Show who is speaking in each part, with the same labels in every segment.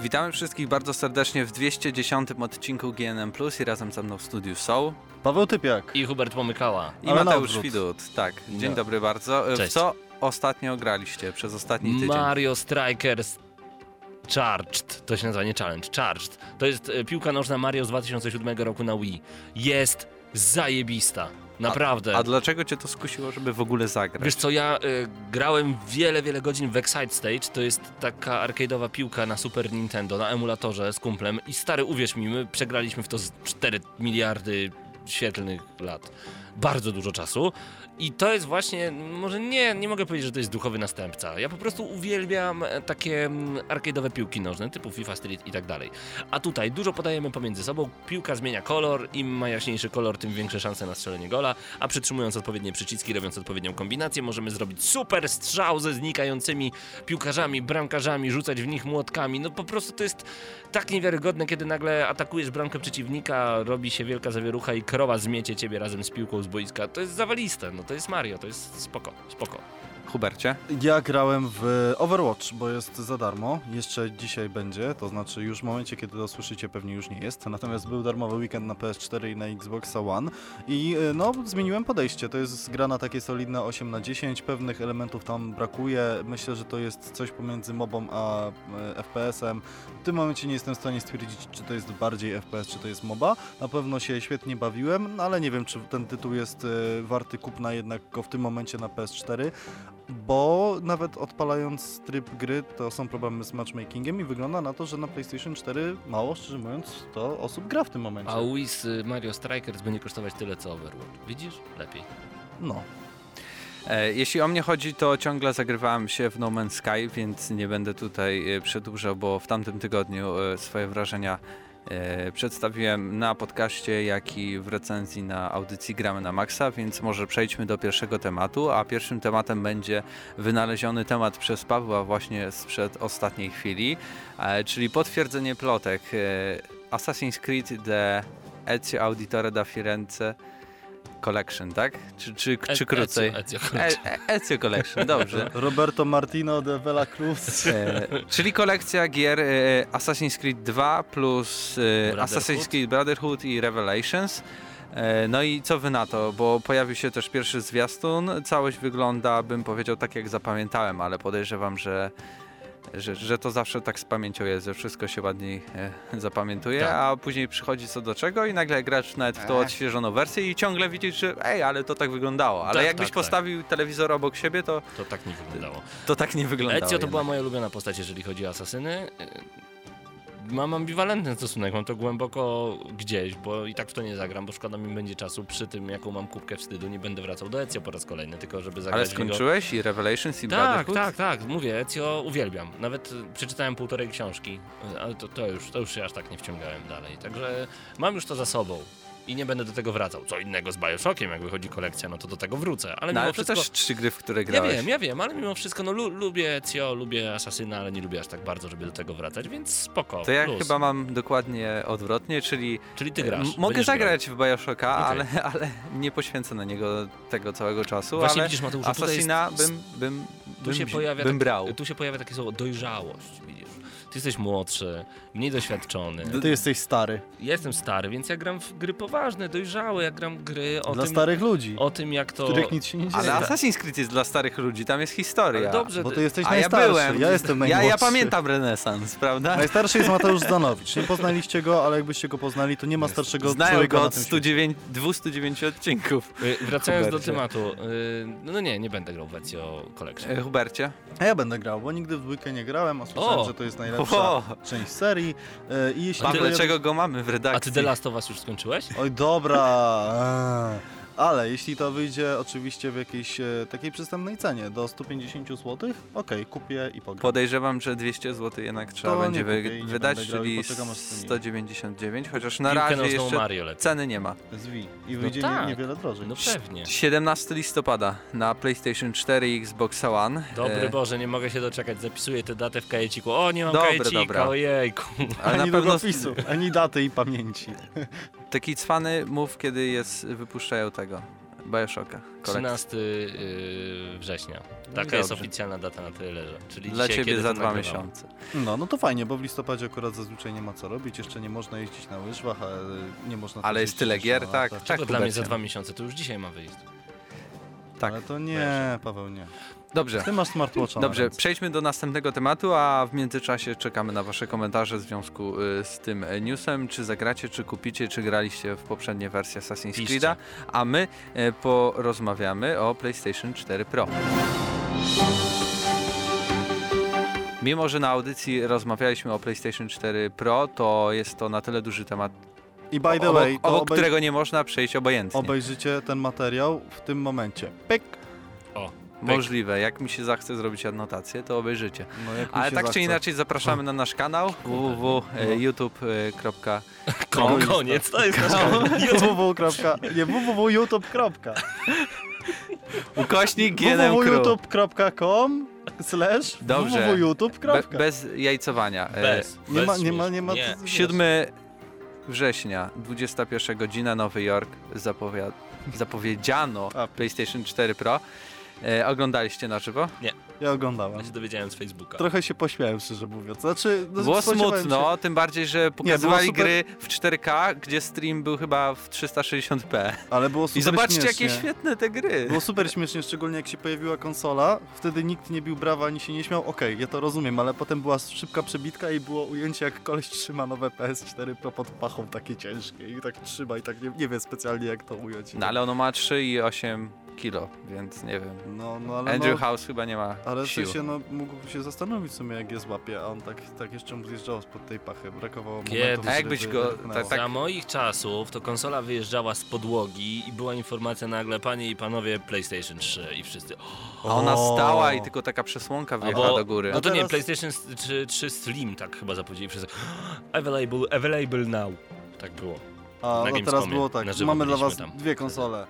Speaker 1: Witamy wszystkich bardzo serdecznie w 210 odcinku GNM Plus i razem ze mną w studiu są
Speaker 2: Paweł Typiak.
Speaker 3: I Hubert Pomykała.
Speaker 1: i
Speaker 2: Ale na
Speaker 1: Mateusz
Speaker 2: odwrót.
Speaker 1: Widut. Tak, dzień
Speaker 2: Nie.
Speaker 1: dobry bardzo. E, W
Speaker 3: Cześć.
Speaker 1: co ostatnio graliście przez ostatni tydzień?
Speaker 3: Mario Strikers Charged. To się nazywa nie challenge, Charged. To jest e, piłka nożna Mario z 2007 roku na Wii. Jest zajebista. Naprawdę.
Speaker 1: A dlaczego cię to skusiło, żeby w ogóle zagrać?
Speaker 3: Wiesz co, ja e, grałem wiele, wiele godzin w Excite Stage, to jest taka arcade'owa piłka na Super Nintendo, na emulatorze z kumplem i stary, uwierz mi, my przegraliśmy w to z 4 miliardy świetlnych lat. Bardzo dużo czasu i to jest właśnie, może nie, nie mogę powiedzieć, że to jest duchowy następca. Ja po prostu uwielbiam e, takie mm, arcade'owe piłki nożne, typu FIFA Street i tak dalej. A tutaj dużo podajemy pomiędzy sobą, piłka zmienia kolor, im ma jaśniejszy kolor, tym większe szanse na strzelenie gola, a przytrzymując odpowiednie przyciski, robiąc odpowiednią kombinację, możemy zrobić super strzał ze znikającymi piłkarzami, bramkarzami, rzucać w nich młotkami. No po prostu to jest tak niewiarygodne, kiedy nagle atakujesz bramkę przeciwnika, robi się wielka zawierucha i krowa zmiecie ciebie razem z piłką z boiska. To jest zawaliste, no to jest Mario, to jest spoko, spoko.
Speaker 1: Hubercie?
Speaker 2: Ja grałem w Overwatch, bo jest za darmo. Jeszcze dzisiaj będzie, to znaczy już w momencie, kiedy to słyszycie, pewnie już nie jest. Natomiast był darmowy weekend na PS4 i na Xboxa One. I e, no, zmieniłem podejście. To jest gra na takie solidne 8 na 10 Pewnych elementów tam brakuje. Myślę, że to jest coś pomiędzy mobą a e, FPS-em. W tym momencie nie jestem w stanie stwierdzić, czy to jest bardziej FPS, czy to jest MOBA. Na pewno się świetnie bawiłem, no ale nie wiem, czy ten tytuł jest e, warty kupna jednak go w tym momencie na PS4, bo nawet odpalając tryb gry, to są problemy z matchmakingiem i wygląda na to, że na PlayStation 4 mało, szczerze mówiąc, to osób gra w tym momencie.
Speaker 3: A Wii z Mario Strikers będzie kosztować tyle co Overwatch. Widzisz? Lepiej.
Speaker 2: No.
Speaker 1: E, Jeśli o mnie chodzi, to ciągle zagrywałem się w No Man's Sky, więc nie będę tutaj e, przedłużał, bo w tamtym tygodniu e, swoje wrażenia e, przedstawiłem na podcaście, jak i w recenzji na audycji Gramy na Maxa, więc może przejdźmy do pierwszego tematu, a pierwszym tematem będzie wynaleziony temat przez Pawła właśnie sprzed ostatniej chwili, e, czyli potwierdzenie plotek e, Assassin's Creed The Ezio Auditore da Firenze Collection, tak? Czy, czy,
Speaker 3: E-
Speaker 1: czy krócej?
Speaker 3: Ezio, Ezio,
Speaker 1: E, e, Ezio Collection, dobrze.
Speaker 2: Roberto Martino de Vela Cruz.
Speaker 1: E, czyli kolekcja gier e, Assassin's Creed 2 plus e, Assassin's Creed Brotherhood i Revelations. E, no i co wy na to, bo pojawił się też pierwszy zwiastun. Całość wygląda, bym powiedział, tak jak zapamiętałem, ale podejrzewam, że, że, że to zawsze tak z pamięcią jest, że wszystko się ładniej e, zapamiętuje,
Speaker 3: Tak.
Speaker 1: a później przychodzi co do czego i nagle grasz nawet w tą odświeżoną wersję i ciągle widzisz, że ej, ale to tak wyglądało. Ale
Speaker 3: Tak,
Speaker 1: jakbyś
Speaker 3: tak, tak.
Speaker 1: postawił telewizor obok siebie, to
Speaker 3: To tak nie wyglądało.
Speaker 1: to tak nie wyglądało.
Speaker 3: Ezio to była
Speaker 1: jednak.
Speaker 3: moja ulubiona postać, jeżeli chodzi o asasyny. Y, Mam ambiwalentny stosunek, mam to głęboko gdzieś, bo i tak w to nie zagram, bo szkoda mi będzie czasu przy tym, jaką mam kubkę wstydu, nie będę wracał do Ezio po raz kolejny, tylko żeby zagrać
Speaker 1: Ale
Speaker 3: w niego.
Speaker 1: skończyłeś i Revelations i
Speaker 3: Tak,
Speaker 1: Brotherhood?
Speaker 3: tak, tak, mówię, Ezio uwielbiam. Nawet y, przeczytałem półtorej książki, y, ale to, to, już, to już się aż tak nie wciągałem dalej. Także mam już to za sobą i nie będę do tego wracał. Co innego z Bioshockiem, jak wychodzi kolekcja, no to do tego wrócę. Ale
Speaker 1: No
Speaker 3: mimo
Speaker 1: ale to
Speaker 3: wszystko...
Speaker 1: też trzy gry, w które
Speaker 3: Ja
Speaker 1: grałeś.
Speaker 3: wiem, ja wiem, ale mimo wszystko, no lu lubię Cio, lubię Asasyna, ale nie lubię aż tak bardzo, żeby do tego wracać, więc spoko.
Speaker 1: To ja
Speaker 3: plus.
Speaker 1: chyba mam dokładnie odwrotnie, czyli
Speaker 3: Czyli ty grasz.
Speaker 1: m- mogę
Speaker 3: będziesz
Speaker 1: zagrać w Bioshocka,
Speaker 3: Okej.
Speaker 1: ale, ale nie poświęcę na niego tego całego czasu,
Speaker 3: Grał. Właśnie
Speaker 1: ale
Speaker 3: widzisz, Mateuszu, tutaj jest,
Speaker 1: Assassina bym, bym,
Speaker 3: tu
Speaker 1: bym,
Speaker 3: się pojawia
Speaker 1: bym
Speaker 3: tak-
Speaker 1: brał.
Speaker 3: Tu się pojawia takie słowo dojrzałość, widzisz. Ty jesteś młodszy, mniej doświadczony.
Speaker 2: Ty jesteś stary.
Speaker 3: Ja jestem stary, więc ja gram w gry poważne, dojrzałe, ja gram gry o,
Speaker 2: Dla
Speaker 3: tym,
Speaker 2: starych ludzi,
Speaker 3: o tym, jak to...
Speaker 2: w których nic się nie dzieje.
Speaker 1: Ale Assassin's Creed jest dla starych ludzi, tam jest historia.
Speaker 3: Ale dobrze, y,
Speaker 2: Bo ty jesteś
Speaker 1: A ja
Speaker 2: najstarszy,
Speaker 1: byłem.
Speaker 2: ja jestem
Speaker 1: ja,
Speaker 2: najmłodszy.
Speaker 1: ja pamiętam renesans, prawda?
Speaker 2: Najstarszy jest Mateusz Zdanowicz. Nie poznaliście go, ale jakbyście go poznali, to nie ma starszego
Speaker 1: Znają
Speaker 2: człowieka
Speaker 1: go
Speaker 2: na
Speaker 1: od
Speaker 2: tym
Speaker 1: 109, 209 odcinków.
Speaker 3: Y, Wracając do
Speaker 2: Hubercie.
Speaker 3: tematu, y, no nie, nie będę grał w Ezio Collection.
Speaker 1: E, Hubercie?
Speaker 2: świecie. A ja będę grał, bo nigdy w dwójkę nie grałem, a słyszałem,
Speaker 3: O!
Speaker 2: że to jest najlepsza
Speaker 1: O,
Speaker 2: część serii. E, I jeśli
Speaker 1: mam
Speaker 2: pojawi-
Speaker 1: dlaczego go mamy w redakcji?
Speaker 3: A ty The Last of Us już skończyłeś?
Speaker 2: Oj, dobra. eee. Ale jeśli to wyjdzie oczywiście w jakiejś e, takiej przystępnej cenie, do 150 zł, okej, kupię i pogram.
Speaker 1: Podejrzewam, że 200 zł jednak trzeba
Speaker 2: To
Speaker 1: będzie
Speaker 2: nie
Speaker 1: wy-
Speaker 2: kupię i nie
Speaker 1: wydać,
Speaker 2: będę grał i
Speaker 1: czyli
Speaker 2: poczekam, aż to nie-
Speaker 1: 199, chociaż na
Speaker 3: Piłkę
Speaker 1: razie
Speaker 3: nożną
Speaker 1: jeszcze
Speaker 3: Mario lepiej.
Speaker 1: ceny nie ma.
Speaker 2: Zwi. I
Speaker 3: No
Speaker 2: wyjdzie
Speaker 3: tak.
Speaker 2: nie, niewiele drożej.
Speaker 3: No pewnie.
Speaker 1: 17 listopada na PlayStation 4 i Xbox One.
Speaker 3: Dobry
Speaker 1: E,
Speaker 3: Boże, nie mogę się doczekać. Zapisuję tę datę w kajeciku. O, nie mam
Speaker 1: Dobra,
Speaker 3: kajecika,
Speaker 1: dobra.
Speaker 3: ojejku.
Speaker 1: ale
Speaker 2: ani
Speaker 1: na pewno
Speaker 2: długopisu, ani daty i pamięci.
Speaker 1: taki cwany mów, kiedy jest, wypuszczają tego Bioshocka. Kolekcja.
Speaker 3: 13 yy, września.
Speaker 1: No i
Speaker 3: Taka jest
Speaker 1: dobrze.
Speaker 3: oficjalna data na trailerze. Czyli
Speaker 1: Dla
Speaker 3: dzisiaj,
Speaker 1: ciebie
Speaker 3: kiedy
Speaker 1: za
Speaker 3: to
Speaker 1: dwa
Speaker 3: nagrywamy.
Speaker 1: miesiące.
Speaker 2: No, no to fajnie, bo w listopadzie akurat zazwyczaj nie ma co robić, jeszcze nie można jeździć na łyżwach, a e, nie można...
Speaker 1: Ale
Speaker 2: też
Speaker 1: jest
Speaker 2: jeździć
Speaker 1: tyle
Speaker 2: na
Speaker 1: gier, tak?
Speaker 2: nartach.
Speaker 1: Tak,
Speaker 3: To dla mnie za
Speaker 1: Kubercie.
Speaker 3: dwa miesiące, to już dzisiaj ma wyjść.
Speaker 1: Tak,
Speaker 2: Ale to nie,
Speaker 1: Wiesz.
Speaker 2: Paweł, nie.
Speaker 1: Dobrze.
Speaker 2: Ty masz smartwatcha na
Speaker 1: Dobrze,
Speaker 2: ręce.
Speaker 1: przejdźmy do następnego tematu, a w międzyczasie czekamy na Wasze komentarze w związku y, z tym y, newsem. Czy zagracie, czy kupicie, czy graliście w poprzednie wersje Assassin's
Speaker 3: Piszcie.
Speaker 1: Creed'a, a my y, porozmawiamy o PlayStation 4 Pro. Mimo, że na audycji rozmawialiśmy o PlayStation 4 Pro, to jest to na tyle duży temat,
Speaker 2: I by the
Speaker 1: obok,
Speaker 2: way, to
Speaker 1: obok
Speaker 2: obej-
Speaker 1: którego nie można przejść obojętnie.
Speaker 2: obejrzycie ten materiał w tym momencie. Pyk!
Speaker 3: O,
Speaker 1: Możliwe, jak mi się zachce zrobić anotację, to obejrzycie.
Speaker 2: No, jak mi
Speaker 1: Ale
Speaker 2: się
Speaker 1: tak czy
Speaker 2: zachce.
Speaker 1: inaczej zapraszamy na nasz kanał www.youtube.com
Speaker 3: kom, koniec, to jest nasz
Speaker 2: www. Nie, www.youtube.
Speaker 1: Ukośnik GNM Crew.
Speaker 2: www.youtube.com slash
Speaker 1: Dobrze.
Speaker 2: www.youtube.
Speaker 1: Be, bez jajcowania. E,
Speaker 3: Bez,
Speaker 2: Nie ma,
Speaker 3: bez
Speaker 2: nie ma, nie ma.
Speaker 3: Nie.
Speaker 1: 7 września, 21 godzina, Nowy Jork, zapowia- zapowiedziano
Speaker 2: A.
Speaker 1: PlayStation 4 Pro. E, oglądaliście na żywo?
Speaker 2: Ja oglądałem.
Speaker 3: Ja się dowiedziałem z Facebooka.
Speaker 2: Trochę się pośmiałem, szczerze mówiąc. Znaczy, no,
Speaker 1: Tak. Było
Speaker 2: spodziewałem
Speaker 1: smutno, tym bardziej, że pokazywali
Speaker 2: super-
Speaker 1: gry w 4K, gdzie stream był chyba w 360p.
Speaker 2: się, ale było super
Speaker 1: I zobaczcie,
Speaker 2: śmiesznie.
Speaker 1: jakie świetne te gry.
Speaker 2: Było super śmiesznie, szczególnie jak się pojawiła konsola. Wtedy nikt nie bił brawa ani się nie śmiał. Okej, ja to rozumiem, ale potem była szybka przebitka i było ujęcie, jak koleś trzyma nowe PS4 pro pod pachą takie ciężkie i tak trzyma i tak nie, nie wie specjalnie jak to ująć.
Speaker 1: No ale ono ma 3,8 kilo, więc nie wiem.
Speaker 2: no, no ale
Speaker 1: Andrew
Speaker 2: no,
Speaker 1: House chyba nie ma
Speaker 2: Ale w
Speaker 1: sił.
Speaker 2: sensie, no, mógłby się zastanowić w sumie, jak je złapie, a on tak, tak jeszcze mu zjeżdżało spod tej pachy. Brakowało momentu,
Speaker 3: Kiedy?
Speaker 2: żeby
Speaker 1: A jakbyś go-
Speaker 2: wypchnęło.
Speaker 1: tak- tak-
Speaker 3: Za moich czasów to konsola wyjeżdżała z podłogi i była informacja nagle, panie i panowie, PlayStation 3 i wszyscy.
Speaker 1: A ona
Speaker 2: O.
Speaker 1: stała i tylko taka przesłonka wyjechała
Speaker 3: Albo-
Speaker 1: do góry.
Speaker 3: No to nie,
Speaker 2: teraz-
Speaker 3: PlayStation 3, 3 Slim tak chyba zapowiedzieli wszyscy. Available, available now. Tak było.
Speaker 2: A
Speaker 3: na
Speaker 2: no teraz
Speaker 3: Gamescomie.
Speaker 2: było
Speaker 3: Na
Speaker 2: tak,
Speaker 3: żywo
Speaker 2: mamy dla was
Speaker 3: byliśmy tam
Speaker 2: dwie konsole.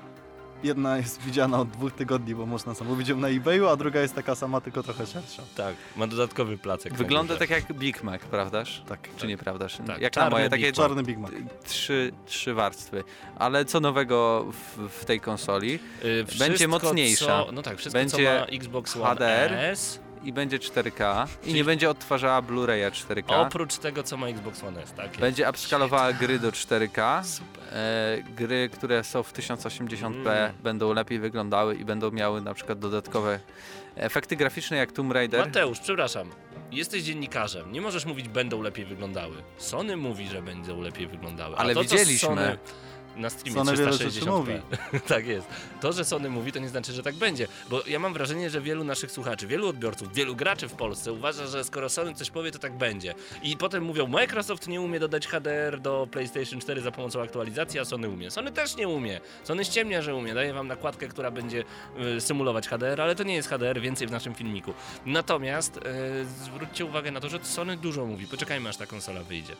Speaker 2: Jedna jest widziana od dwóch tygodni, bo można zamówić ją na eBayu, a druga jest taka sama, tylko trochę szersza.
Speaker 3: Tak, ma dodatkowy placek. na
Speaker 1: Wygląda
Speaker 3: górze.
Speaker 1: tak jak Big Mac, prawdaż?
Speaker 2: Tak.
Speaker 1: Czy nieprawdaż?
Speaker 3: Tak,
Speaker 1: jak na
Speaker 3: czarny
Speaker 1: moje,
Speaker 3: Big
Speaker 1: takie
Speaker 3: Mac.
Speaker 2: Czarny Big Mac.
Speaker 1: trzy, trzy warstwy. Ale co nowego w, w tej konsoli?
Speaker 3: Y,
Speaker 1: tak, będzie
Speaker 3: wszystko,
Speaker 1: mocniejsza.
Speaker 3: Co, no tak, wszystko
Speaker 1: Będzie
Speaker 3: co ma Xbox One
Speaker 1: HDR.
Speaker 3: S,
Speaker 1: I będzie 4K i nie
Speaker 3: Czyli-
Speaker 1: będzie odtwarzała Blu-raya 4K.
Speaker 3: oprócz tego co ma Xbox One S, tak?
Speaker 1: Będzie upskalowała gry do 4K.
Speaker 3: Super.
Speaker 1: E, gry, które są w 1080p
Speaker 3: Mm.
Speaker 1: będą lepiej wyglądały i będą miały na przykład dodatkowe efekty graficzne jak Tomb Raider.
Speaker 3: Mateusz, przepraszam. Jesteś dziennikarzem, nie możesz mówić będą lepiej wyglądały. Sony mówi, że będą lepiej wyglądały. A
Speaker 1: Ale
Speaker 3: to, co
Speaker 1: widzieliśmy.
Speaker 3: Sony na streamie
Speaker 2: Sony wiele
Speaker 3: 360
Speaker 2: rzeczy mówi.
Speaker 3: tak jest. To, że Sony mówi, to nie znaczy, że tak będzie. Bo ja mam wrażenie, że wielu naszych słuchaczy, wielu odbiorców, wielu graczy w Polsce uważa, że skoro Sony coś powie, to tak będzie. I potem mówią, Microsoft nie umie dodać HDR do PlayStation 4 za pomocą aktualizacji, a Sony umie. Sony też nie umie. Sony ściemnia, że umie. Daje wam nakładkę, która będzie y, symulować HDR, ale to nie jest HDR, więcej w naszym filmiku. Natomiast y, zwróćcie uwagę na to, że Sony dużo mówi. Poczekajmy, aż ta konsola wyjdzie.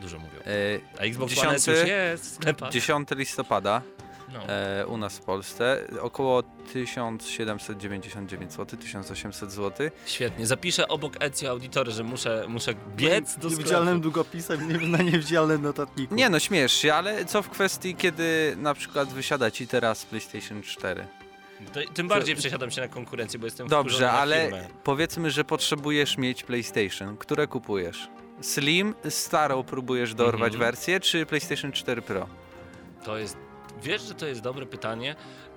Speaker 3: Dużo mówią.
Speaker 1: E,
Speaker 3: A Xbox One S
Speaker 1: Dziesiąty-
Speaker 3: już jest w sklepach.
Speaker 1: 10 listopada
Speaker 3: No.
Speaker 1: e, u nas w Polsce około 1799 zł, 1800 zł.
Speaker 3: Świetnie, zapiszę obok Ezio Auditory, że muszę, muszę biec do sklepu.
Speaker 2: No Niewidzialnym długopisem, nie, na niewidzialnym notatniku.
Speaker 1: Nie no, śmiesz się, ale co w kwestii, kiedy na przykład wysiada ci teraz PlayStation 4?
Speaker 3: To, tym bardziej przesiadam się na konkurencję, bo jestem wkurzony
Speaker 1: Dobrze,
Speaker 3: na
Speaker 1: ale
Speaker 3: firmę.
Speaker 1: powiedzmy, że potrzebujesz mieć PlayStation. Które kupujesz? Slim, starą próbujesz dorwać
Speaker 3: Mhm.
Speaker 1: wersję, czy PlayStation 4 Pro?
Speaker 3: To jest, wiesz, że to jest dobre pytanie,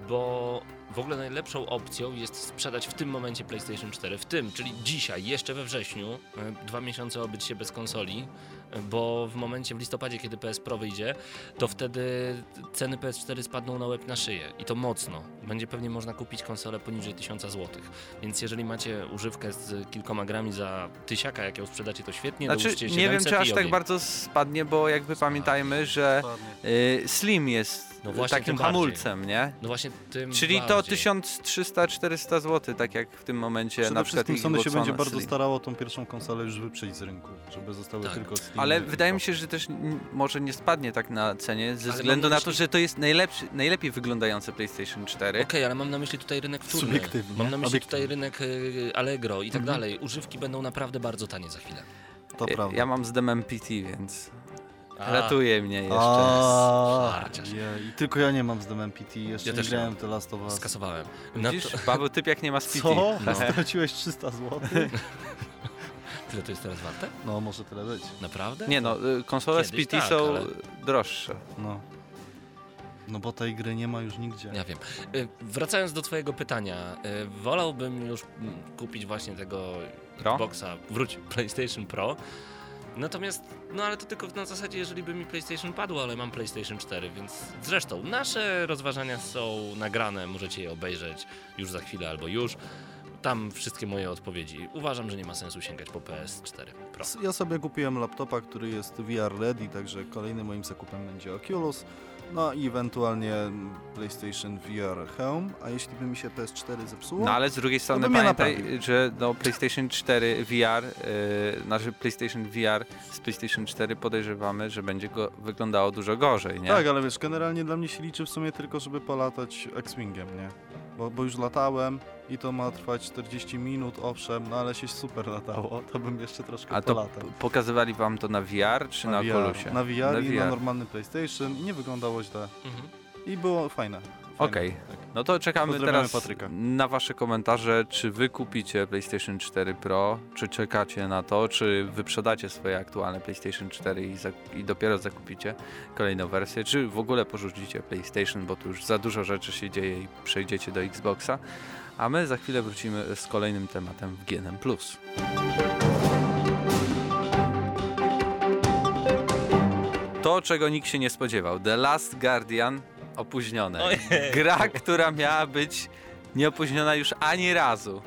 Speaker 3: bo w ogóle najlepszą opcją jest sprzedać w tym momencie PlayStation 4, w tym, czyli dzisiaj, jeszcze we wrześniu, e, dwa miesiące obyć się bez konsoli, e, bo w momencie w listopadzie, kiedy PS Pro wyjdzie, to wtedy ceny PS4 spadną na łeb na szyję i to mocno. Będzie pewnie można kupić konsolę poniżej 1000 zł, więc jeżeli macie używkę z kilkoma grami za tysiaka, jak ją sprzedacie, to świetnie,
Speaker 1: Znaczy,
Speaker 3: dołóżcie
Speaker 1: nie wiem,
Speaker 3: 700
Speaker 1: czy
Speaker 3: i
Speaker 1: aż tak
Speaker 3: ogień.
Speaker 1: bardzo spadnie, bo jakby pamiętajmy, że
Speaker 2: Dokładnie.
Speaker 1: y, Slim jest
Speaker 3: No właśnie,
Speaker 1: takim
Speaker 3: tym bardziej.
Speaker 1: hamulcem, nie?
Speaker 3: No właśnie tym
Speaker 1: Czyli to
Speaker 3: bardziej.
Speaker 1: 1300-400 zł, tak jak w tym momencie
Speaker 2: Przede
Speaker 1: na przykład
Speaker 2: wszystkim Sony się
Speaker 1: Xbox One
Speaker 2: będzie bardzo
Speaker 1: Slim.
Speaker 2: starało tą pierwszą konsolę już wyprzeć z rynku, żeby zostały
Speaker 3: Tak.
Speaker 2: tylko Steam.
Speaker 1: Ale wydaje mi się, że też n- może nie spadnie tak na cenie, ze
Speaker 3: Ale mam
Speaker 1: względu
Speaker 3: na
Speaker 1: na to,
Speaker 3: myśli-
Speaker 1: że to jest najlepszy, najlepiej wyglądający PlayStation 4.
Speaker 3: Okej, ale mam na myśli tutaj rynek wtórny.
Speaker 2: Subiektywnie,
Speaker 3: Mam na myśli
Speaker 2: obiektywnie.
Speaker 3: tutaj rynek y, Allegro i tak
Speaker 2: Mhm.
Speaker 3: dalej. Używki będą naprawdę bardzo tanie za chwilę.
Speaker 2: To
Speaker 3: e,
Speaker 1: Ja-
Speaker 2: prawda.
Speaker 1: Ja mam z demem PT, więc
Speaker 3: A.
Speaker 1: ratuje mnie jeszcze.
Speaker 2: A,
Speaker 3: Harciarz.
Speaker 2: je, i Tylko ja nie mam z Demem PT, jeszcze
Speaker 3: Ja
Speaker 2: nie
Speaker 3: też nie
Speaker 2: grałem
Speaker 3: mam.
Speaker 2: w The Last of Us.
Speaker 3: Skasowałem. No to,
Speaker 1: Widzisz, Paweł typ jak nie ma spity.
Speaker 2: Co?
Speaker 3: No.
Speaker 2: Straciłeś 300 zł?
Speaker 3: tyle to jest teraz warte?
Speaker 2: No, może tyle być.
Speaker 3: Naprawdę?
Speaker 1: Nie no, y, konsole z
Speaker 3: Kiedyś
Speaker 1: PT
Speaker 3: tak,
Speaker 1: są
Speaker 3: ale-
Speaker 1: droższe.
Speaker 2: No. No bo tej gry nie ma już nigdzie.
Speaker 3: Ja wiem. Y, Wracając do twojego pytania, y, wolałbym już mm, kupić właśnie tego
Speaker 1: Pro?
Speaker 3: Xboxa, wróć, PlayStation Pro. Natomiast, no ale to tylko na zasadzie, jeżeli by mi PlayStation padło, ale mam PlayStation 4, więc zresztą nasze rozważania są nagrane, możecie je obejrzeć już za chwilę albo już. Tam wszystkie moje odpowiedzi. Uważam, że nie ma sensu sięgać po PS4 Pro.
Speaker 2: S- Ja sobie kupiłem laptopa, który jest VR ready, także kolejnym moim zakupem będzie Oculus. No i ewentualnie PlayStation VR Home, a jeśli by mi się PS4 zepsuło,
Speaker 1: No ale z drugiej strony
Speaker 2: bym je
Speaker 1: pamiętaj,
Speaker 2: naprawił.
Speaker 1: że no, PlayStation 4 VR, yy, znaczy PlayStation VR z PlayStation 4 podejrzewamy, że będzie go wyglądało dużo gorzej, nie?
Speaker 2: tak, ale wiesz, generalnie dla mnie się liczy w sumie tylko, żeby polatać X-Wingiem, nie? Bo, bo już latałem i to ma trwać 40 minut, owszem, no ale się super latało, to bym jeszcze troszkę
Speaker 1: A to
Speaker 2: polatał.
Speaker 1: p- pokazywali wam to na VR czy na,
Speaker 2: VR,
Speaker 1: Oculusie?
Speaker 2: Na VR i na
Speaker 1: VR.
Speaker 2: normalny PlayStation i nie wyglądało źle.
Speaker 3: Mhm.
Speaker 2: I było fajne. fajne,
Speaker 1: Okej.
Speaker 2: tak.
Speaker 1: No to czekamy
Speaker 2: Pozdrawiamy
Speaker 1: teraz
Speaker 2: Patryka.
Speaker 1: na wasze komentarze, czy wy kupicie PlayStation 4 Pro, czy czekacie na to, czy wyprzedacie swoje aktualne PlayStation 4 i, za, i dopiero zakupicie kolejną wersję, czy w ogóle porzucicie PlayStation, bo tu już za dużo rzeczy się dzieje i przejdziecie do Xboxa, a my za chwilę wrócimy z kolejnym tematem w GNM+. To, czego nikt się nie spodziewał, The Last Guardian opóźnione. Gra, która miała być nieopóźniona już ani razu.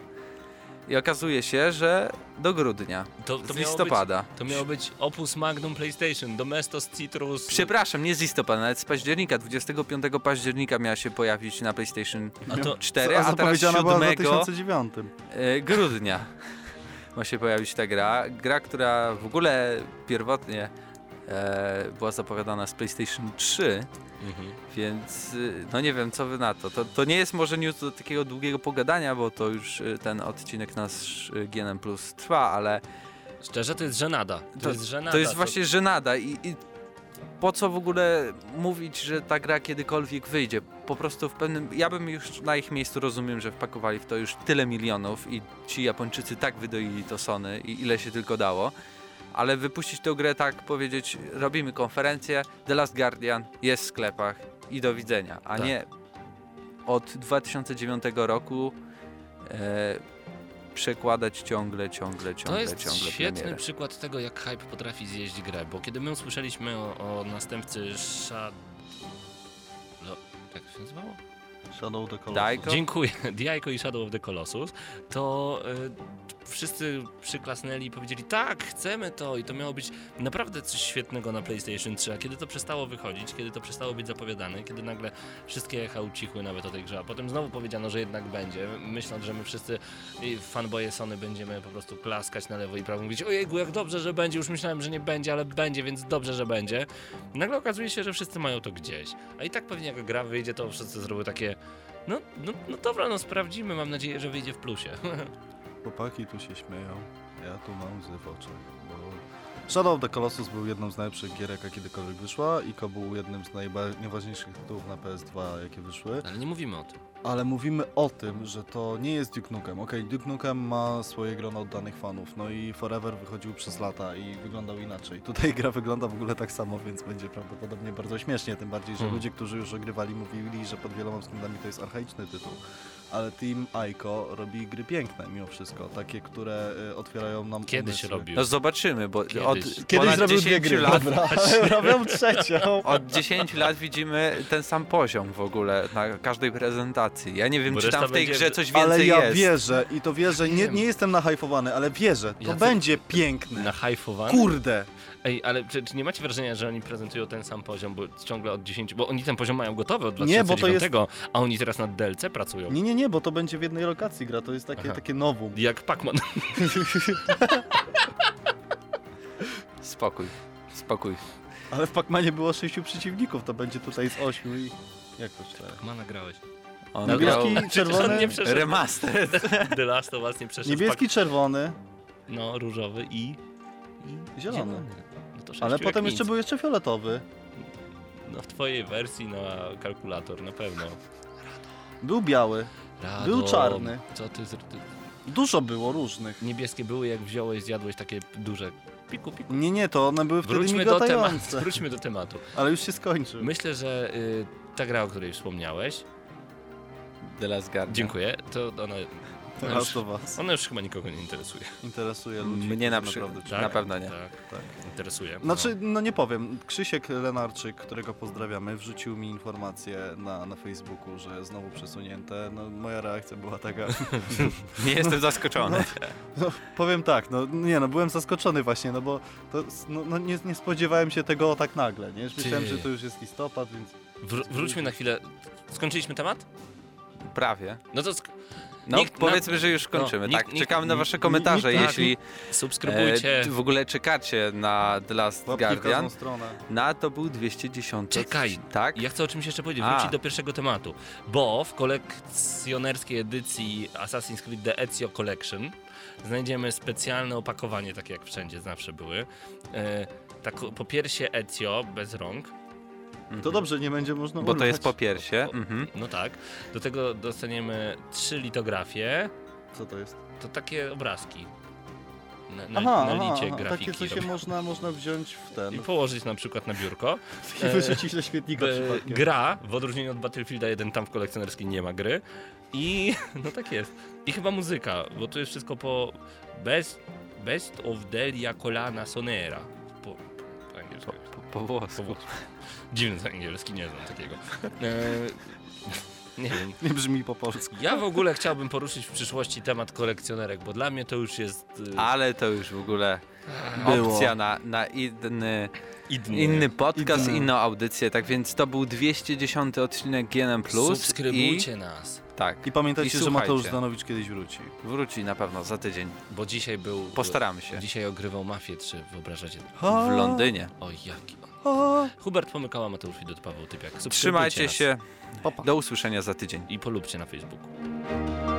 Speaker 1: I okazuje się, że do grudnia,
Speaker 3: To,
Speaker 1: z
Speaker 3: to, miało być,
Speaker 1: listopada.
Speaker 3: to miało być Opus Magnum PlayStation, Domestos Citrus.
Speaker 1: Przepraszam, nie z listopada, nawet z października. 25 października miała się pojawić na PlayStation
Speaker 3: No, A to,
Speaker 1: 4, a, teraz
Speaker 2: zapowiedziana była w
Speaker 1: 7
Speaker 2: 2009.
Speaker 1: E, grudnia ma się pojawić ta gra. Gra, która w ogóle pierwotnie e, była zapowiadana z PlayStation 3,
Speaker 3: mhm.
Speaker 1: więc y, no nie wiem, co wy na to. To, to nie jest może news do takiego długiego pogadania, bo to już y, ten odcinek nasz y, GNM Plus trwa, ale
Speaker 3: Szczerze, to jest żenada. To, jest żenada.
Speaker 1: to jest właśnie żenada i, i po co w ogóle mówić, że ta gra kiedykolwiek wyjdzie? Po prostu w pewnym... Ja bym już na ich miejscu rozumiem, że wpakowali w to już tyle milionów i ci Japończycy tak wydoili to Sony i ile się tylko dało, ale wypuścić tę grę tak, powiedzieć robimy konferencję, The Last Guardian jest w sklepach i do widzenia, a
Speaker 3: Tak.
Speaker 1: nie od 2009 roku e, przekładać ciągle, ciągle, ciągle,
Speaker 3: To jest
Speaker 1: ciągle
Speaker 3: świetny
Speaker 1: premierę.
Speaker 3: przykład tego, jak hype potrafi zjeść grę, bo kiedy my usłyszeliśmy o, o następcy Shad... Lo... Jak to się nazywało?
Speaker 2: Shadow the Colossus.
Speaker 1: Dajko?
Speaker 3: Dziękuję. Diajko i Shadow of the Colossus, to y, wszyscy przyklasnęli i powiedzieli tak, chcemy to i to miało być naprawdę coś świetnego na PlayStation 3, a kiedy to przestało wychodzić, kiedy to przestało być zapowiadane, kiedy nagle wszystkie echa ucichły nawet o tej grze, a potem znowu powiedziano, że jednak będzie, myśląc, że my wszyscy y, fanboje Sony będziemy po prostu klaskać na lewo i prawo, mówić ojejku, jak dobrze, że będzie, już myślałem, że nie będzie, ale będzie, więc dobrze, że będzie. Nagle okazuje się, że wszyscy mają to gdzieś, a i tak pewnie jak gra wyjdzie, to wszyscy zrobią takie no, no, no dobra, no sprawdzimy. Mam nadzieję, że wyjdzie w plusie.
Speaker 2: Chłopaki tu się śmieją, ja tu mam łzy w oczach, bo... Shadow of the Colossus był jedną z najlepszych gier, jaka kiedykolwiek wyszła i to był jednym z najba- najważniejszych tytułów na PS2, jakie wyszły.
Speaker 3: Ale nie mówimy o tym.
Speaker 2: Ale mówimy o tym, że to nie jest Duke Nukem. Okej, Duke Nukem ma swoje grono oddanych fanów, no i Forever wychodził przez lata i wyglądał inaczej. Tutaj gra wygląda w ogóle tak samo, więc będzie prawdopodobnie bardzo śmiesznie, tym bardziej, że
Speaker 3: Hmm.
Speaker 2: ludzie, którzy już ogrywali, mówili, że pod wieloma względami to jest archaiczny tytuł. Ale Team Aiko robi gry piękne mimo wszystko, takie, które y, otwierają nam
Speaker 3: Kiedy
Speaker 2: umysły.
Speaker 3: się robił?
Speaker 1: No zobaczymy, bo
Speaker 3: Kiedyś.
Speaker 1: od
Speaker 3: Kiedyś
Speaker 2: Kiedyś
Speaker 1: ponad
Speaker 2: zrobił dwie
Speaker 1: 10
Speaker 2: gry,
Speaker 1: lat,
Speaker 2: dobra, robią trzecią.
Speaker 1: od 10 lat widzimy ten sam poziom w ogóle na każdej prezentacji. Ja nie wiem,
Speaker 3: Bo
Speaker 1: czy tam
Speaker 3: reszta
Speaker 1: w tej
Speaker 3: będzie-
Speaker 1: grze coś więcej
Speaker 2: Ale ja
Speaker 1: jest.
Speaker 2: wierzę i to wierzę, nie,
Speaker 3: Wiem.
Speaker 2: nie jestem nahajfowany, ale wierzę, to
Speaker 3: Jacy-
Speaker 2: będzie piękne.
Speaker 3: Na hypowany?
Speaker 2: Kurde!
Speaker 3: Ej, ale czy, czy nie macie wrażenia, że oni prezentują ten sam poziom, bo ciągle od 10, bo oni ten poziom mają gotowy od
Speaker 2: Nie, bo
Speaker 3: 2009,
Speaker 2: to
Speaker 3: a oni teraz nad DLC pracują.
Speaker 2: Nie, nie, nie, bo to będzie w jednej lokacji gra, to jest takie,
Speaker 3: Aha.
Speaker 2: takie nowum.
Speaker 3: Jak Pac-Man.
Speaker 1: Spokój, spokój.
Speaker 2: Ale w Pacmanie było sześciu przeciwników, to będzie tutaj z ośmiu i... Jak to cztery?
Speaker 3: Pac-Mana grałeś.
Speaker 1: On grał
Speaker 2: Niebieski,
Speaker 3: On
Speaker 2: czerwony...
Speaker 3: nie przeszedł.
Speaker 1: remaster.
Speaker 3: The Last of Us nie przeszedł.
Speaker 2: Niebieski, czerwony,
Speaker 3: Pac- No, różowy i... i
Speaker 2: Zielony.
Speaker 3: No to sześciu
Speaker 2: ale
Speaker 3: jak
Speaker 2: potem
Speaker 3: nic.
Speaker 2: jeszcze był jeszcze fioletowy.
Speaker 3: No w twojej wersji na kalkulator na pewno.
Speaker 2: Był biały.
Speaker 3: Radom,
Speaker 2: Był czarny.
Speaker 3: Co ty, zr- ty...
Speaker 2: Dużo było różnych.
Speaker 3: Niebieskie były, jak wziąłeś, zjadłeś takie duże piku, piku.
Speaker 2: Nie, nie, to one były wtedy
Speaker 3: Wróćmy do, tematu,
Speaker 2: migotające.
Speaker 3: wróćmy do tematu.
Speaker 2: Ale już się skończył.
Speaker 3: Myślę, że y, ta gra, o której wspomniałeś,
Speaker 1: The Last Guardian.
Speaker 3: dziękuję, to ona,
Speaker 2: Teraz to was.
Speaker 3: ona już chyba nikogo nie interesuje.
Speaker 2: Interesuje ludzi.
Speaker 1: Mnie
Speaker 2: którzy
Speaker 1: na przy-
Speaker 2: naprawdę-
Speaker 1: Na pewno nie.
Speaker 3: Tak,
Speaker 2: Tak.
Speaker 3: interesuje.
Speaker 2: Znaczy, no nie powiem. Krzysiek Lenarczyk, którego pozdrawiamy, wrzucił mi informację na, na Facebooku, że znowu przesunięte. No, moja reakcja była taka.
Speaker 1: Nie jestem zaskoczony.
Speaker 2: No, powiem tak, no nie no, byłem zaskoczony właśnie, no bo to, s- no, no, nie, nie spodziewałem się tego tak nagle, nie? Już
Speaker 3: Ty.
Speaker 2: Myślałem, że to już jest listopad, więc
Speaker 3: No. Wr- wróćmy na chwilę. Skończyliśmy temat?
Speaker 1: Prawie.
Speaker 3: No to sk-
Speaker 1: No
Speaker 3: Nikt-
Speaker 1: powiedzmy, że już
Speaker 3: no,
Speaker 1: kończymy,
Speaker 3: nikt-
Speaker 1: tak?
Speaker 3: nikt-
Speaker 1: Czekam na wasze
Speaker 2: nikt-
Speaker 1: komentarze,
Speaker 2: nikt-
Speaker 1: jeśli
Speaker 3: subskrybujcie.
Speaker 1: e, w ogóle czekacie na The Last
Speaker 2: łapki w
Speaker 1: Guardian.
Speaker 2: każdą stronę.
Speaker 1: Na to był 210.
Speaker 3: Czekaj.
Speaker 1: Tak?
Speaker 3: Ja chcę o czymś jeszcze powiedzieć,
Speaker 1: A.
Speaker 3: wrócić do pierwszego tematu, bo w kolekcjonerskiej edycji Assassin's Creed The Ezio Collection znajdziemy specjalne opakowanie, takie jak wszędzie zawsze były. E, tak, po piersie Ezio bez rąk,
Speaker 1: Mhm.
Speaker 2: To dobrze, nie będzie można
Speaker 1: Bo to
Speaker 2: urwać.
Speaker 1: jest po piersie.
Speaker 3: O-
Speaker 1: Mhm.
Speaker 3: no tak, do tego dostaniemy trzy litografie,
Speaker 2: Co to jest?
Speaker 3: to takie obrazki na, na,
Speaker 2: Aha,
Speaker 3: na
Speaker 2: aha,
Speaker 3: licie
Speaker 2: aha
Speaker 3: grafiki
Speaker 2: takie co się
Speaker 3: robią.
Speaker 2: można, można wziąć w
Speaker 3: i
Speaker 2: ten,
Speaker 3: położyć na przykład na biurko.
Speaker 2: i wyrzucić do śmietnika
Speaker 3: E,
Speaker 2: przypadkiem.
Speaker 3: gra, w odróżnieniu od Battlefielda 1, tam w kolekcjonerskiej nie ma gry. I no tak jest. I chyba muzyka, bo to jest wszystko po Best, best of Delia Colana Sonera. Po, po angielsku.
Speaker 1: Po, po włosku.
Speaker 3: Po- Dziwny to angielski, nie znam takiego. E, nie wiem.
Speaker 2: Nie brzmi po polsku.
Speaker 3: Ja w ogóle chciałbym poruszyć w przyszłości temat kolekcjonerek, bo dla mnie to już jest e,
Speaker 1: Ale to już w ogóle
Speaker 2: Było.
Speaker 1: opcja na, na inny,
Speaker 3: inny.
Speaker 1: inny podcast,
Speaker 2: Inny.
Speaker 1: inną audycję. Tak więc to był 210 odcinek GNM+.
Speaker 3: Subskrybujcie nas,
Speaker 1: I, tak.
Speaker 2: I
Speaker 1: I
Speaker 2: pamiętajcie, że
Speaker 1: słuchajcie.
Speaker 2: Mateusz Zdanowicz kiedyś wróci.
Speaker 1: wróci na pewno za tydzień.
Speaker 3: bo dzisiaj był.
Speaker 1: Postaramy się.
Speaker 3: Dzisiaj ogrywał Mafię 3, wyobrażacie?
Speaker 1: W Londynie.
Speaker 3: O jaki on.
Speaker 2: A,
Speaker 3: Hubert Pomykała, Mateusz Widut, Paweł Typiak. Subskrybujcie
Speaker 1: Trzymajcie
Speaker 3: nas
Speaker 1: się.
Speaker 2: Pa, pa.
Speaker 1: Do usłyszenia za tydzień.
Speaker 3: I polubcie na Facebooku.
Speaker 2: pa.